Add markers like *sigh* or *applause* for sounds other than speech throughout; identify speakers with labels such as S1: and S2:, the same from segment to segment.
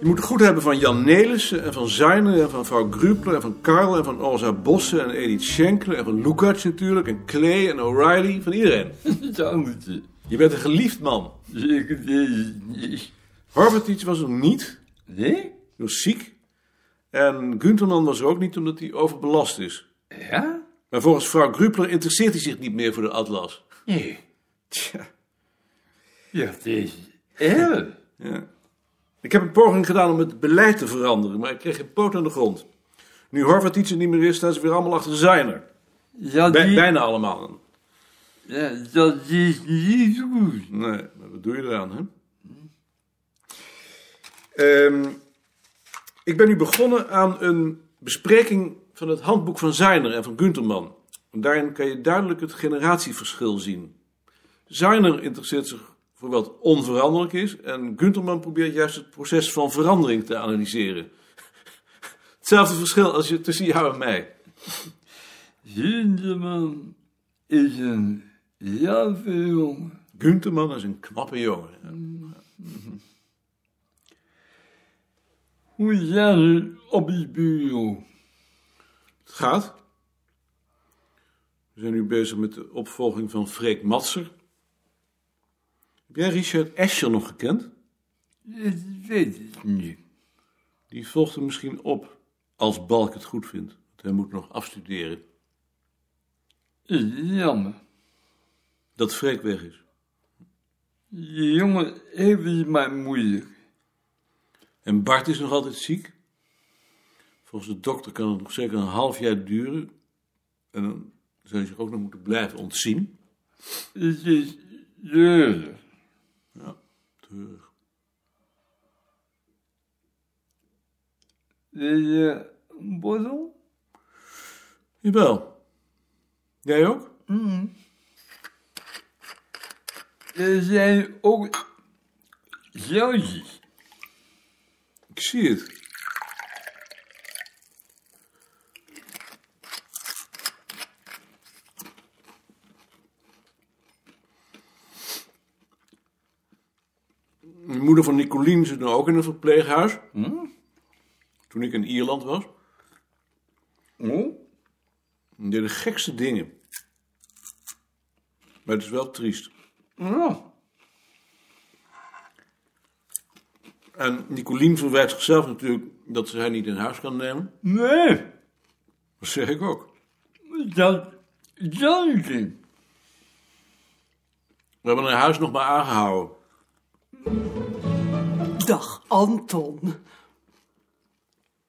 S1: moet goed hebben van Jan Nelissen en van Zijner en van vrouw Grubler en van Karl en van Orza Bosse en Edith Schenkler en van Lukács natuurlijk en Clay en O'Reilly, van iedereen.
S2: *laughs* Tante,
S1: Je bent een geliefd man.
S2: eh, zeker deze niet.
S1: Horvatits was er niet,
S2: Nee?
S1: hij was ziek. En Gunterman was er ook niet omdat hij overbelast is.
S2: Ja?
S1: Maar volgens vrouw Grubler interesseert hij zich niet meer voor de atlas.
S2: Nee.
S1: Tja,
S2: Ja, deze. Heel.
S1: ja. Ik heb een poging gedaan om het beleid te veranderen, maar ik kreeg geen poot aan de grond. Nu Horvatits er niet meer is, staan ze weer allemaal achter Zijner.
S2: Ja,
S1: Bij-
S2: die,
S1: bijna allemaal.
S2: ja, dat is niet goed.
S1: Nee, maar wat doe je eraan, hè? Ehm, ik ben nu begonnen aan een bespreking van het handboek van Zijner en van Gunterman. En daarin kan je duidelijk het generatieverschil zien. Zijner interesseert zich voor wat onveranderlijk is... en Gunterman probeert juist het proces van verandering te analyseren. *laughs* Hetzelfde verschil als je tussen jou en mij.
S2: Zinderman is een jaffe jongen.
S1: Gunterman is een knappe jongen.
S2: Hoe zat het op het bureau?
S1: Het gaat. We zijn nu bezig met de opvolging van Freek Matser. Heb jij Richard Escher nog gekend?
S2: Dat weet ik niet.
S1: Die volgt hem misschien op, als Balk het goed vindt. Want hij moet nog afstuderen.
S2: Is jammer.
S1: Dat Freek weg is.
S2: Die jongen heeft het maar moeilijk.
S1: En Bart is nog altijd ziek. Volgens de dokter kan het nog zeker een half jaar duren. En dan zou hij zich ook nog moeten blijven ontzien.
S2: Het is deur.
S1: Treurig.
S2: Wil je een borrel?
S1: Jawel. Jij ook?
S2: Er zijn ook zoutjes.
S1: Ik zie het. De moeder van Nicolien zit nu ook in een verpleeghuis. Toen ik in Ierland was.
S2: Oh?
S1: En deed de gekste dingen. Maar het is wel triest.
S2: Ja.
S1: En Nicolien verwijt zichzelf natuurlijk dat ze haar niet in huis kan nemen.
S2: Nee,
S1: Dat zeg ik ook.
S2: dat zoutje.
S1: We hebben haar huis nog maar aangehouden.
S3: Dag, Anton.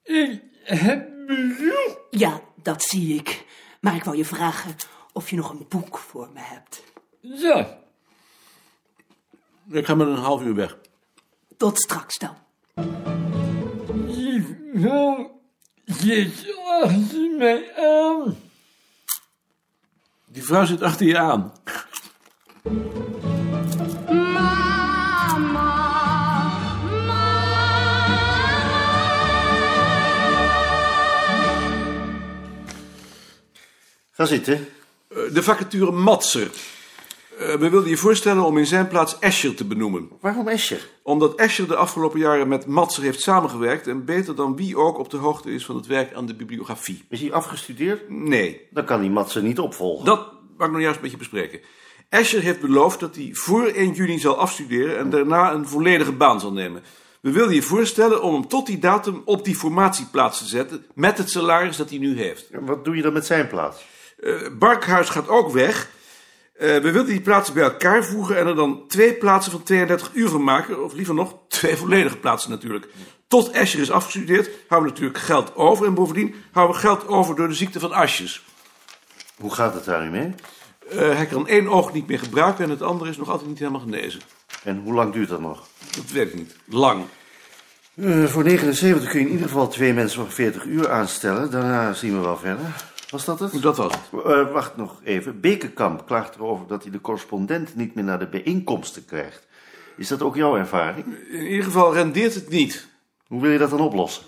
S2: Ik heb bezoek.
S3: Ja, dat zie ik. Maar ik wou je vragen of je nog een boek voor me hebt.
S2: Ja.
S1: Ik ga met een half uur weg.
S3: Tot straks dan.
S2: Die vrouw zit achter mij aan.
S1: Die vrouw zit achter je aan.
S4: Ga zitten.
S1: Eh, De vacature Matser. Eh, we wilden je voorstellen om in zijn plaats Escher te benoemen.
S4: Waarom Escher?
S1: Omdat Escher de afgelopen jaren met Matser heeft samengewerkt... en beter dan wie ook op de hoogte is van het werk aan de bibliografie.
S4: Is hij afgestudeerd?
S1: Nee,
S4: Dan kan die Matsen niet opvolgen.
S1: dat mag ik nog juist met je bespreken. Escher heeft beloofd dat hij voor 1 juni zal afstuderen... en daarna een volledige baan zal nemen. We wilden je voorstellen om hem tot die datum op die formatieplaats te zetten... met het salaris dat hij nu heeft.
S4: En Wat doe je dan met zijn plaats?
S1: Eh, Barkhuis gaat ook weg. Eh, we wilden die plaatsen bij elkaar voegen en er dan twee plaatsen van 32 uur van maken. Of liever nog, twee volledige plaatsen natuurlijk. Tot Escher is afgestudeerd, houden we natuurlijk geld over. En bovendien houden we geld over door de ziekte van Asjes.
S4: Hoe gaat het daar nu mee?
S1: Eh, hij kan één oog niet meer gebruiken en het andere is nog altijd niet helemaal genezen.
S4: En hoe lang duurt dat nog?
S1: Dat weet ik niet. Lang.
S4: Eh, voor 79 kun je in ieder geval twee mensen van 40 uur aanstellen. Daarna zien we wel verder. Was dat het?
S1: Dat was het.
S4: Eh, wacht nog even. Bekenkamp klaagt erover dat hij de correspondent niet meer naar de bijeenkomsten krijgt. Is dat ook jouw ervaring?
S1: In ieder geval rendeert het niet.
S4: Hoe wil je dat dan oplossen?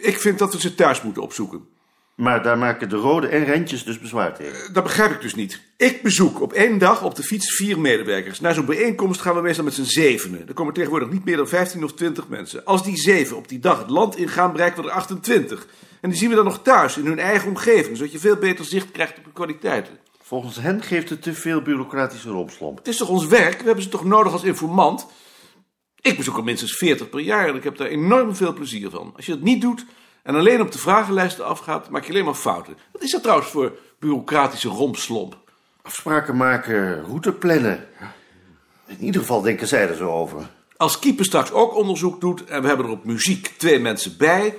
S1: Ik vind dat we ze thuis moeten opzoeken.
S4: Maar daar maken de Rode en Rentjes dus bezwaar tegen.
S1: Dat begrijp ik dus niet. Ik bezoek op één dag op de fiets vier medewerkers. Na zo'n bijeenkomst gaan we meestal met z'n zevenen. Er komen tegenwoordig niet meer dan 15 of 20 mensen. Als die zeven op die dag het land ingaan, bereiken we er 28. En die zien we dan nog thuis, in hun eigen omgeving, zodat je veel beter zicht krijgt op de kwaliteiten.
S4: Volgens hen geeft het te veel bureaucratische rompslomp.
S1: Het is toch ons werk? We hebben ze toch nodig als informant? Ik bezoek er minstens 40 per jaar en ik heb daar enorm veel plezier van. Als je dat niet doet en alleen op de vragenlijsten afgaat, maak je alleen maar fouten. Wat is dat trouwens voor bureaucratische rompslomp?
S4: Afspraken maken, route plannen. In ieder geval denken zij er zo over.
S1: Als Kiepen straks ook onderzoek doet en we hebben er op muziek twee mensen bij,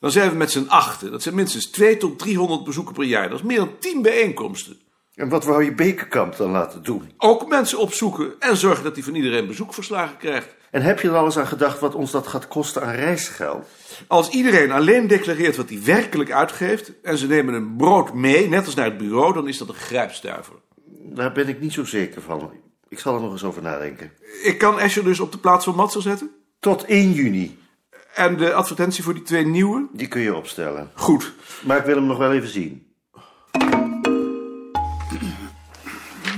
S1: dan zijn we met z'n achten. Dat zijn minstens 2 tot 300 bezoeken per jaar. Dat is meer dan 10 bijeenkomsten.
S4: En wat wou je Bekenkamp dan laten doen?
S1: Ook mensen opzoeken en zorgen dat hij van iedereen bezoekverslagen krijgt.
S4: En heb je er alles aan gedacht wat ons dat gaat kosten aan reisgeld?
S1: Als iedereen alleen declareert wat hij werkelijk uitgeeft en ze nemen een brood mee, net als naar het bureau, dan is dat een grijpstuiver.
S4: Daar ben ik niet zo zeker van. Ik zal er nog eens over nadenken.
S1: Ik kan Escher dus op de plaats van Matser zetten?
S4: Tot 1 juni.
S1: En de advertentie voor die twee nieuwe?
S4: Die kun je opstellen.
S1: Goed.
S4: Maar ik wil hem nog wel even zien.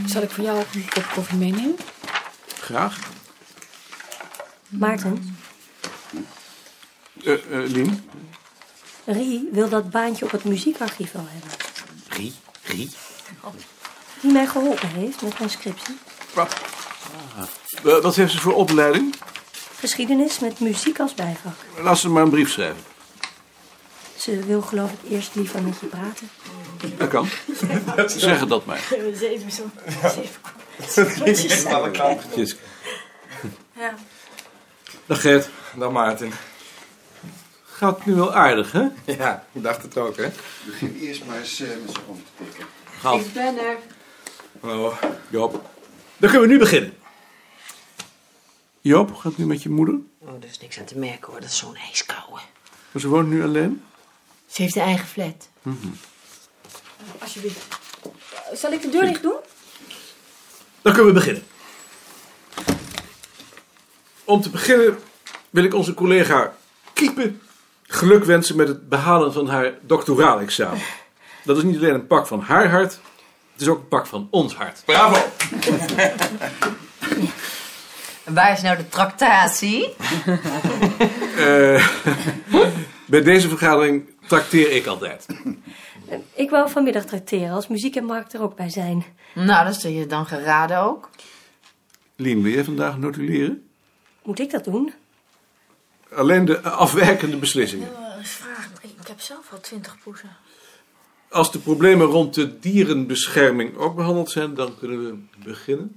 S5: Zal ik voor jou ook een kop koffie meenemen?
S1: Graag.
S6: Maarten,
S1: Eh eh, Lien?
S6: Rie wil dat baantje op het muziekarchief wel hebben.
S1: Rie? Rie?
S6: Die mij geholpen heeft met mijn scriptie.
S1: Wat? Eh, Wat heeft ze voor opleiding?
S6: Geschiedenis met muziek als bijvak.
S1: Laat ze maar een brief schrijven.
S6: Ze wil geloof ik eerst liever met je praten.
S1: Dat kan. Zeg het dat maar.
S5: Zeven zo.
S1: Tjitske.
S5: Ja.
S1: Dag Gert.
S7: Dag Maarten.
S1: Gaat nu wel aardig, hè?
S7: Ja, ik dacht het ook, hè?
S8: Eerst maar eens eh, met z'n om te tikken.
S1: Gaat.
S5: ben er.
S7: Hallo.
S1: Joop. Dan kunnen we nu beginnen. Joop, gaat nu met je moeder?
S3: Oh, er is niks aan te merken hoor, dat is zo'n ijskouwe.
S1: Maar ze woont nu alleen?
S9: Ze heeft haar eigen flat.
S5: Alsjeblieft. Eh, Zal ik de deur dicht doen?
S1: Dan kunnen we beginnen. Om te beginnen wil ik onze collega Kiepen geluk wensen met het behalen van haar doctoraalexamen. Dat is niet alleen een pak van haar hart, het is ook een pak van ons hart.
S7: Bravo!
S9: En waar is nou de tractatie?
S1: Eh, bij deze vergadering trakteer ik altijd.
S6: Eh, Ik wou vanmiddag tracteren als muziek en markt er ook bij zijn.
S9: Nou, dat is je dan geraden ook.
S1: Lien, wil jij vandaag notuleren?
S6: Moet ik dat doen?
S1: Alleen de afwijkende beslissingen.
S5: Vraag, ik heb zelf al twintig poezen.
S1: Als de problemen rond de dierenbescherming ook behandeld zijn, dan kunnen we beginnen.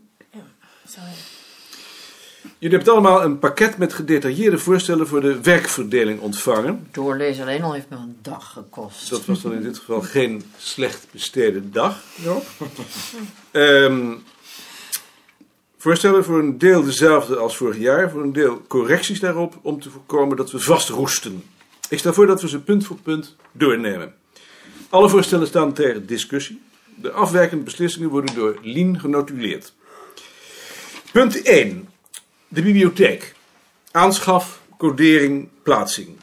S1: Jullie hebben allemaal een pakket met gedetailleerde voorstellen voor de werkverdeling ontvangen.
S9: Doorlezen alleen al heeft me een dag gekost.
S1: Dus Dat was dan in dit geval geen slecht besteden dag. Ehm, voorstellen voor een deel dezelfde als vorig jaar, voor een deel correcties daarop om te voorkomen dat we vastroesten. Ik stel voor dat we ze punt voor punt doornemen. Alle voorstellen staan ter discussie. De afwijkende beslissingen worden door Lien genotuleerd. Punt 1. De bibliotheek. Aanschaf, codering, plaatsing.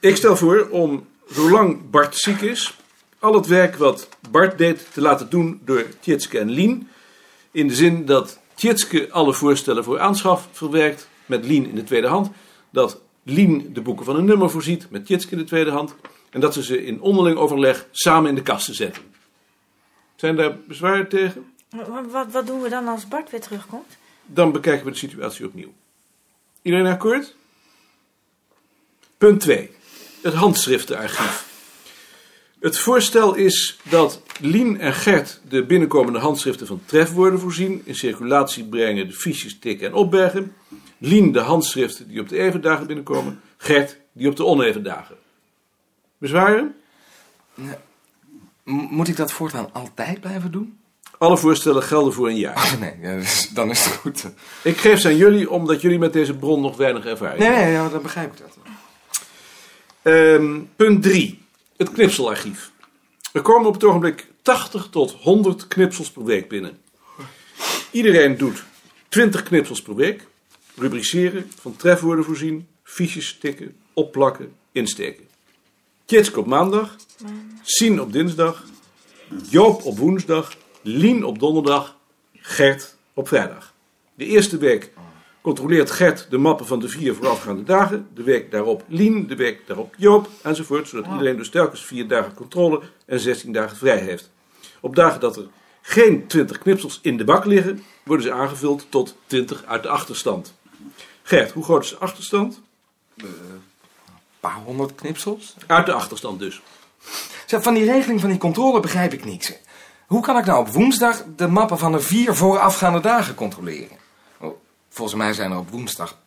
S1: Ik stel voor om, zolang Bart ziek is, al het werk wat Bart deed te laten doen door Tjitske en Lien. In de zin dat Tjitske alle voorstellen voor aanschaf verwerkt met Lien in de tweede hand. Dat Lien de boeken van een nummer voorziet met Tjitske in de tweede hand. En dat ze ze in onderling overleg samen in de kasten zetten. Zijn daar bezwaren tegen?
S5: Wat, wat doen we dan als Bart weer terugkomt?
S1: Dan bekijken we de situatie opnieuw. Iedereen akkoord? Punt 2. Het handschriftenarchief. Het voorstel is dat Lien en Gert de binnenkomende handschriften van trefwoorden voorzien, in circulatie brengen, de fiches tikken en opbergen. Lien de handschriften die op de even dagen binnenkomen, Gert die op de oneven dagen. Bezwaren?
S7: moet ik dat voortaan altijd blijven doen?
S1: Alle voorstellen gelden voor een jaar.
S7: Nee, ja, dus *laughs* dan is het goed.
S1: Ik geef ze aan jullie omdat jullie met deze bron nog weinig ervaring
S7: Nee, nee, ja, dan begrijp ik dat.
S1: Ehm, punt 3. Het knipselarchief. Er komen op het ogenblik 80 tot 100 knipsels per week binnen. Iedereen doet 20 knipsels per week. Rubriceren, van trefwoorden voorzien, fiches tikken, opplakken, insteken. Tjitske op maandag. Sien op dinsdag. Joop op woensdag. Lien op donderdag. Gert op vrijdag. De eerste week controleert Gert de mappen van de vier voorafgaande dagen. De week daarop Lien, de week daarop Joop enzovoort. Zodat iedereen dus telkens vier dagen controle en 16 dagen vrij heeft. Op dagen dat er geen 20 knipsels in de bak liggen, worden ze aangevuld tot 20 uit de achterstand. Gert, hoe groot is de achterstand?
S7: Een paar honderd knipsels?
S1: Uit de achterstand dus.
S7: Zeg, van die regeling van die controle begrijp ik niks. Hoe kan ik nou op woensdag de mappen van de vier voorafgaande dagen controleren? Oh, Volgens mij zijn er op woensdag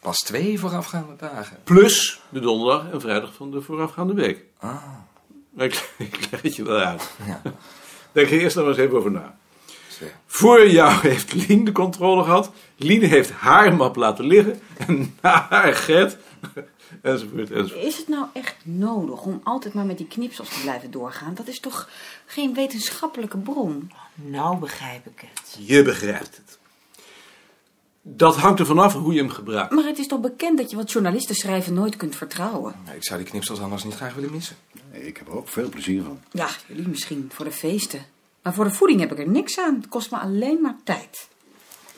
S7: pas twee voorafgaande dagen.
S1: Plus de donderdag en vrijdag van de voorafgaande week. Ah. Ik, ik leg het je wel uit.
S7: Ja.
S1: Denk er eerst nog eens even over na.
S7: Zeg.
S1: Voor jou heeft Lien de controle gehad. Lien heeft haar map laten liggen. En na haar Gert. *laughs* Enzovoort, enzovoort.
S10: Is het nou echt nodig om altijd maar met die knipsels te blijven doorgaan? Dat is toch geen wetenschappelijke bron?
S9: Nou begrijp ik het.
S1: Je begrijpt het. Dat hangt ervan af hoe je hem gebruikt.
S10: Maar het is toch bekend dat je wat journalisten schrijven nooit kunt vertrouwen?
S7: Nou, ik zou die knipsels anders niet graag willen missen.
S8: Nee, ik heb er ook veel plezier van.
S10: Ja, jullie misschien, voor de feesten. Maar voor de voeding heb ik er niks aan. Het kost me alleen maar tijd.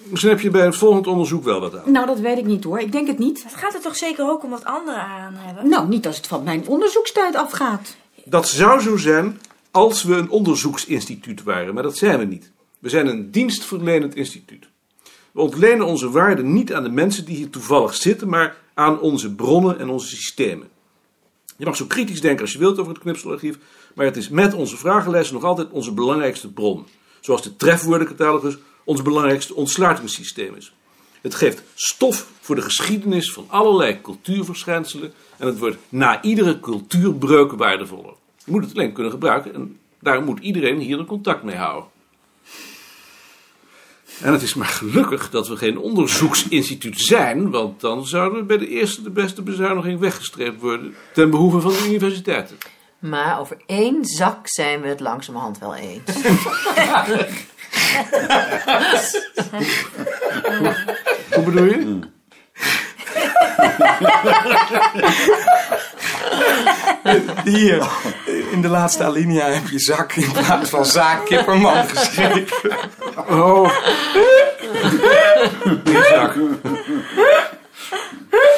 S1: Misschien heb je bij het volgend onderzoek wel wat aan.
S10: Nou, dat weet ik niet hoor. Ik denk het niet.
S6: Het gaat er toch zeker ook om wat anderen aan hebben?
S10: Nou, niet als het van mijn onderzoekstijd afgaat.
S1: Dat zou zo zijn als we een onderzoeksinstituut waren, maar dat zijn we niet. We zijn een dienstverlenend instituut. We ontlenen onze waarde niet aan de mensen die hier toevallig zitten, maar aan onze bronnen en onze systemen. Je mag zo kritisch denken als je wilt over het knipselarchief, maar het is met onze vragenlijst nog altijd onze belangrijkste bron. Zoals de trefwoordencatalogus ons belangrijkste ontsluitingssysteem is. Het geeft stof voor de geschiedenis van allerlei cultuurverschijnselen en het wordt na iedere cultuurbreuk waardevoller. Je moet het alleen kunnen gebruiken en daar moet iedereen hier in contact mee houden. En het is maar gelukkig dat we geen onderzoeksinstituut zijn, want dan zouden we bij de eerste de beste bezuiniging weggestreept worden ten behoeve van de universiteiten.
S9: Maar over één zak zijn we het langzamerhand wel eens.
S1: Hoe bedoel je?
S7: Hier, in de laatste alinea heb je zak in plaats van zaak kipperman geschreven.
S1: Oh,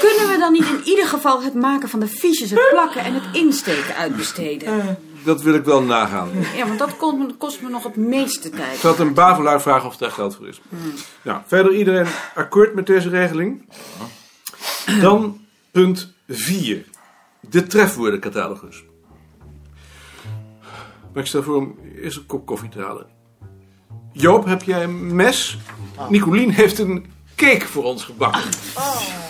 S10: Kunnen we dan niet in ieder geval het maken van de fiches, het plakken en het insteken uitbesteden?
S1: dat wil ik wel nagaan.
S10: Ja, want dat kost me, kost me nog het meeste tijd.
S1: Ik zal het een bavelaar vragen of daar geld voor is. Nou, verder iedereen akkoord met deze regeling? Dan punt 4. De trefwoordencatalogus. Maar ik stel voor om eerst een kop koffie te halen. Joop, heb jij een mes? Nicolien heeft een cake voor ons gebakken.